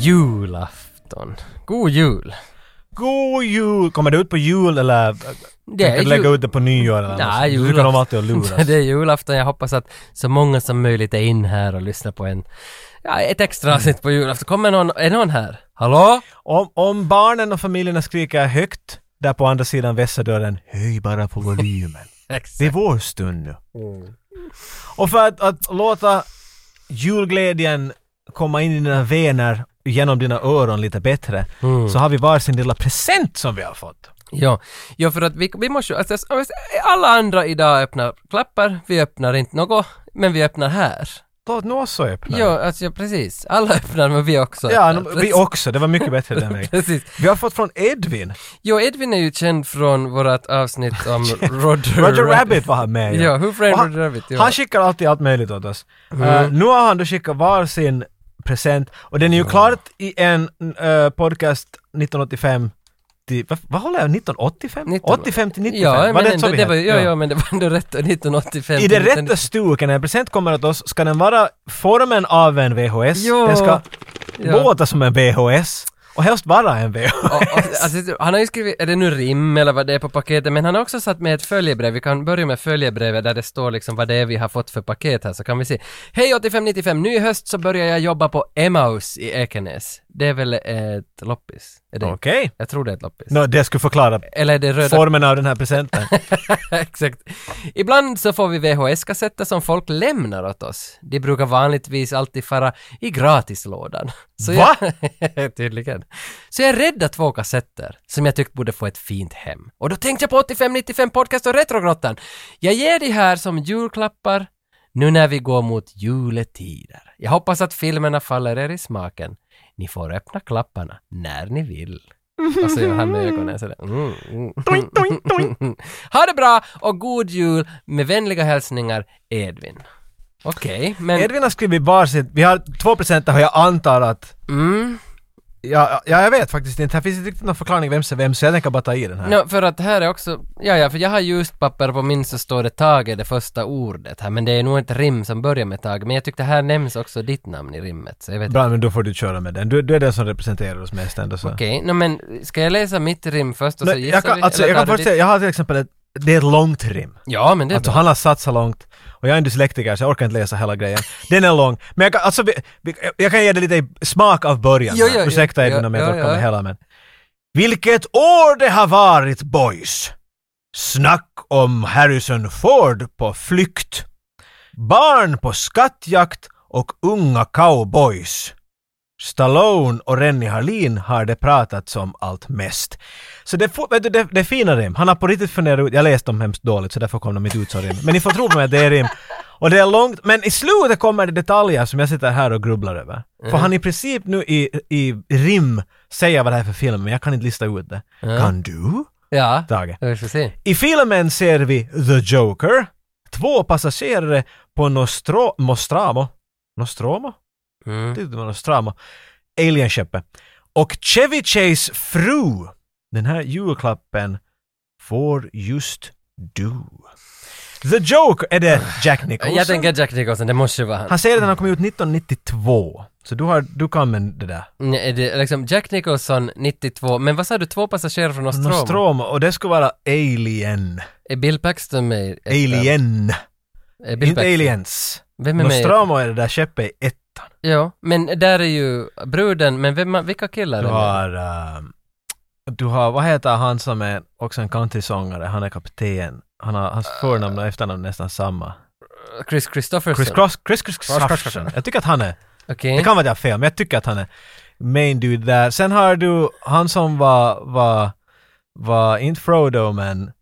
Julafton. God jul! God jul! Kommer det ut på jul eller Det tänker du ju- lägga ut det på nyår eller något Nej, sånt? Tycker de alltid att julafton. luras? det är julafton. Jag hoppas att så många som möjligt är in här och lyssnar på en, ja, ett Mm. extra avsnitt på julafton. Kommer någon, är någon här? Hallå? Om, om barnen och familjerna skriker högt där på andra sidan vässerdörren, höj bara på volymen. Det är Exakt. vår stund nu. Och för att, att låta julglädjen komma in i dina vener genom dina öron lite bättre Mm. så har vi varsin lilla present som vi har fått. Ja. ja, för att vi, vi måste ju- alltså, alla andra idag öppnar klappar, vi öppnar inte något, men vi öppnar här. Låt nu oss så öppna. Ja, alltså ja, precis. Alla öppnar men vi också ja öppnar. nu- vi också. Det var mycket bättre den vägen. Precis. Vi har fått från Edvin. Jo, Edvin är ju känd från vårt avsnitt om Roger, Roger Rabbit var han med i. Ja, Who Framed Och han- Roger Rabbit? Ja. Han skickar alltid allt möjligt åt oss. Eh, nu har han då skickat varsin present och den är ju klart i en eh, podcast 1985 till, vad, vad håller jag, 1985? 19. 85 till 95? Ja, men det ändå, så vi det hette? var, ja, ja, men det var ändå rätt 1985. I det till 1990. rätta stuket, när en present kommer åt oss, ska den vara formen av en VHS, Ja, den ska ja. låta som en VHS och helst vara en VHS. Och, och, alltså, han har ju skrivit, är det nu rim eller vad det är på paketet, men han har också satt med ett följebrev. Vi kan börja med följebrevet där det står liksom vad det är vi har fått för paket här, så kan vi se. Hej 8595, nu i höst så börjar jag jobba på Emmaus i Ekenäs. Det är väl ett loppis? Är det? Okej. Jag tror det är ett loppis. Nå, det skulle förklara Eller är det röda formen av den här presenten. Exakt. Ibland så får vi VHS-kassetter som folk lämnar åt oss. De brukar vanligtvis alltid fara i gratislådan. Så Va? Jag, tydligen. Så jag räddade två kassetter som jag tyckte borde få ett fint hem. Och då tänkte jag på 8595 Podcast och Retrogrottan. Jag ger de här som julklappar nu när vi går mot juletider. Jag hoppas att filmerna faller er i smaken. Ni får öppna klapparna när ni vill. Och så gör han med ögonen sådär. Mm, mm. Toink, toink, toink. Ha det bra och god jul med vänliga hälsningar Edvin. Okej, men... Edvin har skrivit varsitt, vi har två presenter och jag antar att Mm, Ja, ja, jag vet faktiskt inte. Här finns inte riktigt någon förklaring vem som är vem, så jag tänker bara ta i den här. nå, för att här är också... Ja, ja, för jag har ljust papper på min så står det Tage, det första ordet här, men det är nog ett rim som börjar med Tage, men jag tyckte här nämns också ditt namn i rimmet, så jag vet Bra, men då får du köra med den. Du, du är den som representerar oss mest ändå. Så. Okej, nå men ska jag läsa mitt rim först och så Nej, gissar jag kan, vi? alltså, Eller jag tar kan du först ditt? säga, jag har till exempel ett, det är ett långt rim. Ja, men det är Alltså bra. han har satsat långt. Och jag är en dyslektiker så jag orkar inte läsa hela grejen. Den är lång. Men jag kan, alltså, vi, vi, jag kan ge dig lite smak av början. Jo, här. jo, jo. Ursäkta Edvin om jag Ja, inte orkar ja, med ja. hela men. Vilket år det har varit boys! Snack om Harrison Ford på flykt. Barn på skattjakt och unga cowboys. Stallone och Rennie Harlin har det pratats om allt mest. Så det, får- vet du, det, det är fina rim. Han har på riktigt funderat ut, jag läste dem hemskt dåligt så därför kom de inte ut som rim. Men ni får tro på mig att det är rim. Och det är långt, men i slutet kommer det detaljer som jag sitter här och grubblar över. För han i princip nu i, i rim säger vad det här är för film, men jag kan inte lista ut det. Kan du? Ja, Tage. vi får se. I filmen ser vi The Joker, två passagerare på Nostro- Nostramo, Nostromo? Mm. Det var Nostramo. Alienskeppet. Och Chevy Chase fru. Den här julklappen får just du. The Joker, är det Jack Nicholson? Jag tänker Jack Nicholson, det måste ju vara han. Han säger att den har kommit ut 1992. Så du, har, du kan med det där. Nej, det är liksom Jack Nicholson 92, men vad sa du, två passagerare från Nostromo? Nostromo. Och det ska vara Alien. Är Bill Paxton med? i ettan? Alien. Är Bill Inte Paxton? Aliens. Vem är med? i- Nostromo är det där skeppet i ettan. Ja, men där är ju bruden, men vem, vilka killar är Du med? har... ehm, du har, vad heter han som är också en countrysångare? Han är kapten. Han har, hans förnamn och efternamn är nästan samma. Äh. Chris Christopherson? Chris Cross, Chris Chris Cross- Christopherson. Jag tycker att han är, Okej. det kan vara att jag har fel, men jag tycker att han är main dude där. Sen har du han som var, var, var inte Frodo men,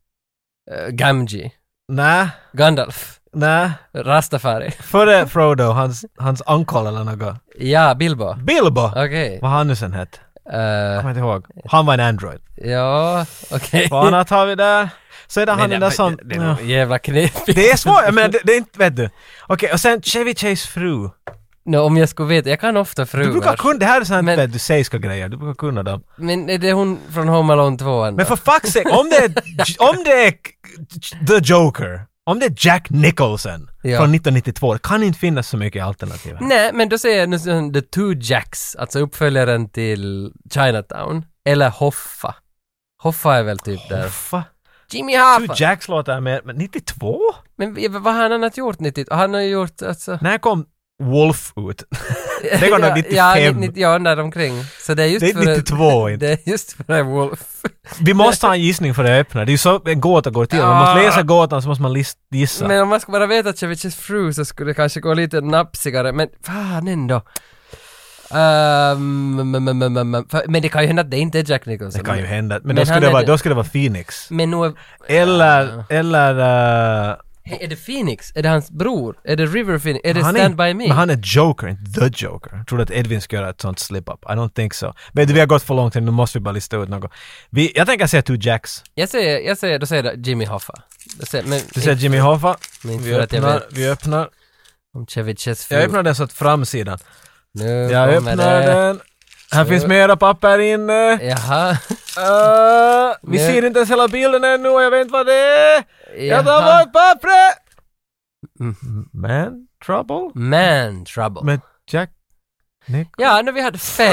Eh, Gamgee? nä, Gandalf? nä, Rastafari? före Frodo, hans, hans uncle eller något. Ja, Bilbo? Bilbo! Okej. Vad han nu sen hette? Eh, Kommer inte ihåg. Han var en android. ja, okej. Vad annat har vi där? Så är det han Nej, den där nej, som... Det, det är ja. nog jävla knepigt. Det är svårt, jag menar det, det är inte, vet du. Okej, och sen Chevy Chase fru. Nå, om jag skulle veta, jag kan ofta fruar. Du brukar kunna, det här är sånt Men- vet du, seiska grejer, du brukar kunna dem. Men är det hon från Home Alone 2 ändå? Men för fuck's sake, om det är, om det är The Joker, Om det är Jack Nicholson Ja. från 1992, det kan inte finnas så mycket alternativ. här. Nej, men då säger jag nu som The Two Jacks, alltså uppföljaren till Chinatown. Eller Hoffa. Hoffa är väl typ där. Hoffa. Jimmy Two Hoffa! Jacks låtar med, men 92? Men vi- vad har han annat gjort 90? Han har ju gjort alltså... När kom Wolf ut? Det går nog 95. Ja, ja, 90, ja där omkring. Så det är just Det är för... 92 inte. Det är just för det Wolf. Vi måste ha en gissning för det öppna. Det är ju så en gåta går till. Man måste läsa gåtan så måste man list- gissa. Men om man ska bara veta Ceviches fru så skulle det kanske gå lite napsigare, men fan ändå. Ehm, mm, mm, mm, mm, mm. För- Men det kan ju hända att det inte är Jack Nicholson. det kan ju hända. Men, Men då, han skulle det är vara, det- då skulle det vara Phoenix. Men nog... är- Eller, eller... eh, Hey, är det Phoenix? Är det hans bror? Är det River Phoenix? Är det han Stand är, By Me? Men han är Joker, inte the Joker. Jag trodde att Edvin skulle göra ett sånt slip-up. I don't think so. Men vi har gått för långt nu måste vi bara lista ut något. Vi, jag tänker säga Two Jacks. Jag säger, jag säger, då säger jag Jimmy Hoffa. Jag säger, men, Du säger Jimmy Hoffa. men inte Vi för att jag öppnar, vet vi öppnar. om Ceviches fru. Jag öppnar den så att framsidan. Nu Jag kommer öppnar det. den. Här Så. finns mera papper inne. Jaha. Eh, Nu. vi ser inte ens hela bilden ännu och jag vet inte vad det är. Jag tar Jaha. bort pappret! Mm. Man trouble? Man trouble. Med Jack Nick? Ja, nu vi hade fel.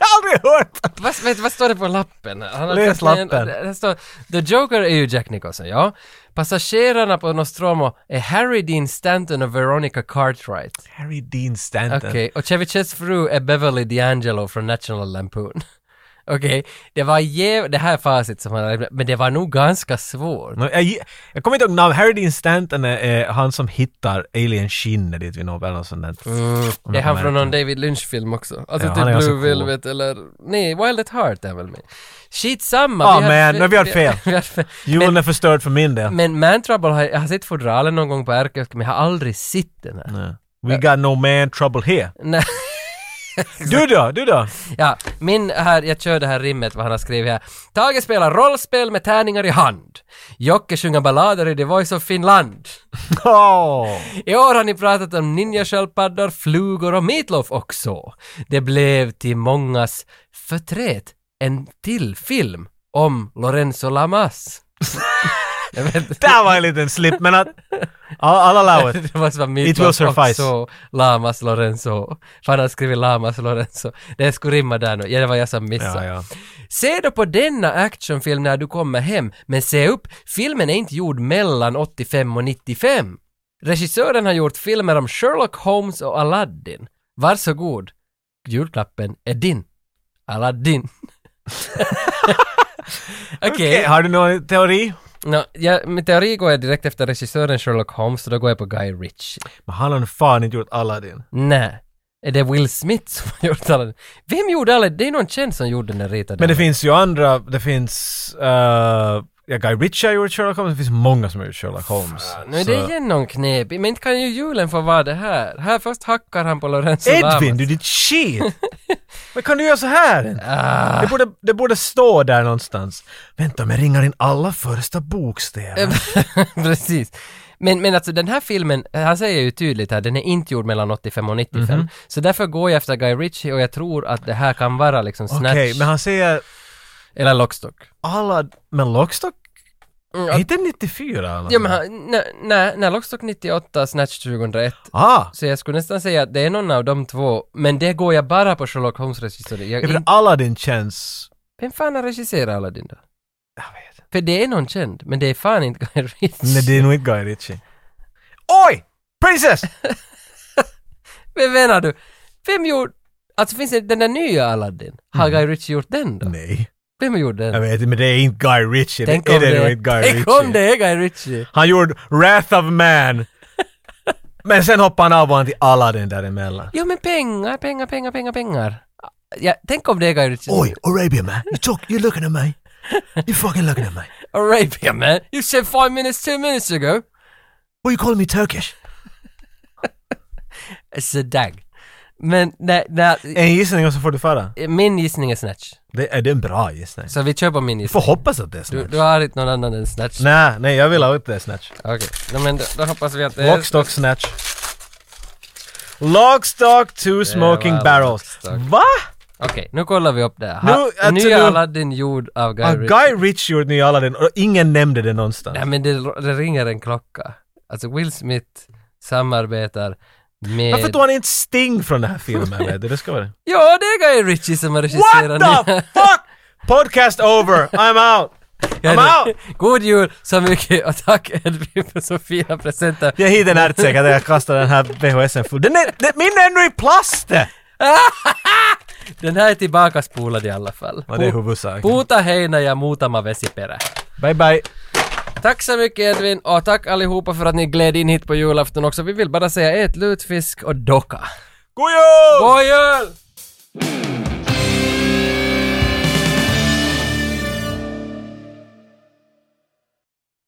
Jag har aldrig hört! vad, vet, vad står det på lappen? Han har Läs satt ner en- lappen. det- det står, The Joker är ju Jack Nicholson, ja. Passagerarna på Nostromo är Harry Dean Stanton och Veronica Cartwright. Harry Dean Okej, Stanton. och Ceviches fru är Beverly D'Angelo från National Lampoon. Okej, det var jäv... Det här är facit som han har men det var nog ganska svårt. Nå, Jag, gi- jag kommer inte ihåg namn. Harry Dean Stanton är, är han som hittar Alien Skinner dit vi når eller något sånt där. Mm. Mm. Om Det är jag han kommer från ihåg. någon David Lynch-film också. Alltså Ja, han är typ ganska Blue cool. Velvet eller... Nej, Wild at Heart är han väl med. Skitsamma! Ah, hade man, fe- men vi hade fel. vi hade fel. Julen är förstörd för min del. Men Man Trouble har jag har sett fodralen någon gång på RKS men jag har aldrig sett den här. Nej. We got no man trouble here. Nej. Du då, du då? ja, min här, jag kör det här rimmet vad han har skrivit här. Tage spelar rollspel med tärningar i hand. Jocke sjunger ballader i The Voice of Finland. Åh. I år har ni pratat om ninjasköldpaddor, flugor och Meatloaf också. Det blev till mångas förtret en till film om Lorenzo Lamas. jag vet inte. Där var en liten slip men att... Alla allow it. det måste vara It will Meatloaf suffice. också, Lamas Lorenzo. Fan han skriver Lamas Lorenzo. Det skulle rimma där nu. Ja, det var jag som missade. Ja, ja. Se då på denna actionfilm när du kommer hem, men se upp, filmen är inte gjord mellan 85 och 95. Regissören har gjort filmer om Sherlock Holmes och Aladdin. Varsågod, julklappen är din. Aladdin. Okej. Okej, Har du någon teori? Nå, ja, med teori går jag direkt efter regissören Sherlock Holmes, så då går jag på Guy Ritchie. Men han har fan inte gjort Aladdin. Nej. Är det Will Smith som har gjort alla? Vem gjorde alla? Det är någon känd som gjorde den där ritade. Men det finns ju andra, det finns... eh, ja, Guy Ritchie har gjort Sherlock Holmes, det finns många som har gjort Sherlock Holmes. Nu är det Så- igen någon knepig, men inte kan ju julen få vara det här. Här först hackar han på Lorenzo Edvin, Lamas. du ditt shit! Men kan du göra så här? Ah. Det borde, det borde stå där någonstans. Vänta, men ringar in alla första bokstäver. Precis. Men, men alltså den här filmen, han säger ju tydligt här, den är inte gjord mellan 85 och 95. Mhm. Så därför går jag efter Guy Ritchie och jag tror att det här kan vara liksom Snatch Okej, men han säger eller Lockstock. alla... Men Lockstock? Mm, Är att, inte det 94 eller ja men han- nej, nej, nej, Lockstock 98, Snatch 2001. Ah! Så jag skulle nästan säga att det är någon av de två, men det går jag bara på Sherlock Holmes-regissören. Jag Jag vet, in- Aladdin känns... Vem fan har regisserat Aladdin då? Jag vet. För det är någon känd, men det är fan inte Guy Ritchie. Nej, det är nog inte Guy Ritchie. Oj! Princess! Vem menar du? Vem gjorde... Alltså finns det den där nya Aladdin? Har Mm. Guy Ritchie gjort den då? Nej. Vem gjorde den? Jag vet inte, men det är inte Guy Ritchie. Tänk det är om det, det, nog inte Guy tänk om Ritchie. det är Guy Ritchie! Han gjorde Wrath of Man. men sen hoppade han av och han till Aladdin däremellan. Jo men pengar, pengar, pengar, pengar, pengar. Ja, tänk om det är Guy Ritchie. Oj, Arabia man. You talk, you're looking at me. You fucking looking at me. Arabia man! You said five minutes, two minutes ago! What you calling me Turkish? It's a dag. Men nej, nej. En gissning och så får du fara. Min gissning är Snatch. Det är, det är en bra gissning. Så vi kör på min Får gissning. hoppas att det är Du, Snatch. du har inte någon annan än Snatch? Nej, nej, jag vill ha ut det Snatch. Okej, no, men då, då hoppas vi att det är... Lockstock Snatch. Lockstock two smoking var Eh, barrels. Lockstock. Va? Okej, nu kollar vi upp det här. Nu, Ha- alltså Nya nu- Aladdin gjord av Guy Ah, Ritchie. Guy Ritchie gjorde nya Aladdin och ingen nämnde det någonstans. Nej men det, det ringer en klocka. Alltså Will Smith samarbetar med... Varför tog han inte Sting från den här filmen? vet du? Det ska vara det. Ja, det är Guy Ritchie som har regisserat What the fuck! Podcast over! I'm out! Ja, I'm det- out! God jul så mycket och tack Edvin för så fina presenter. Jag hittar en ärtsäck att jag kastar den här VHSen full. Den är, den, min är ännu i plast! Den här är tillbaka spolad i alla fall. Ja, det är huvudsaken. Puta heinä ja muutama vesiperä. Bye bye. Tack så mycket Edvin och tack allihopa för att ni gled in hit på julafton också. Vi vill bara säga ät lutfisk och docka. God jul! God jul!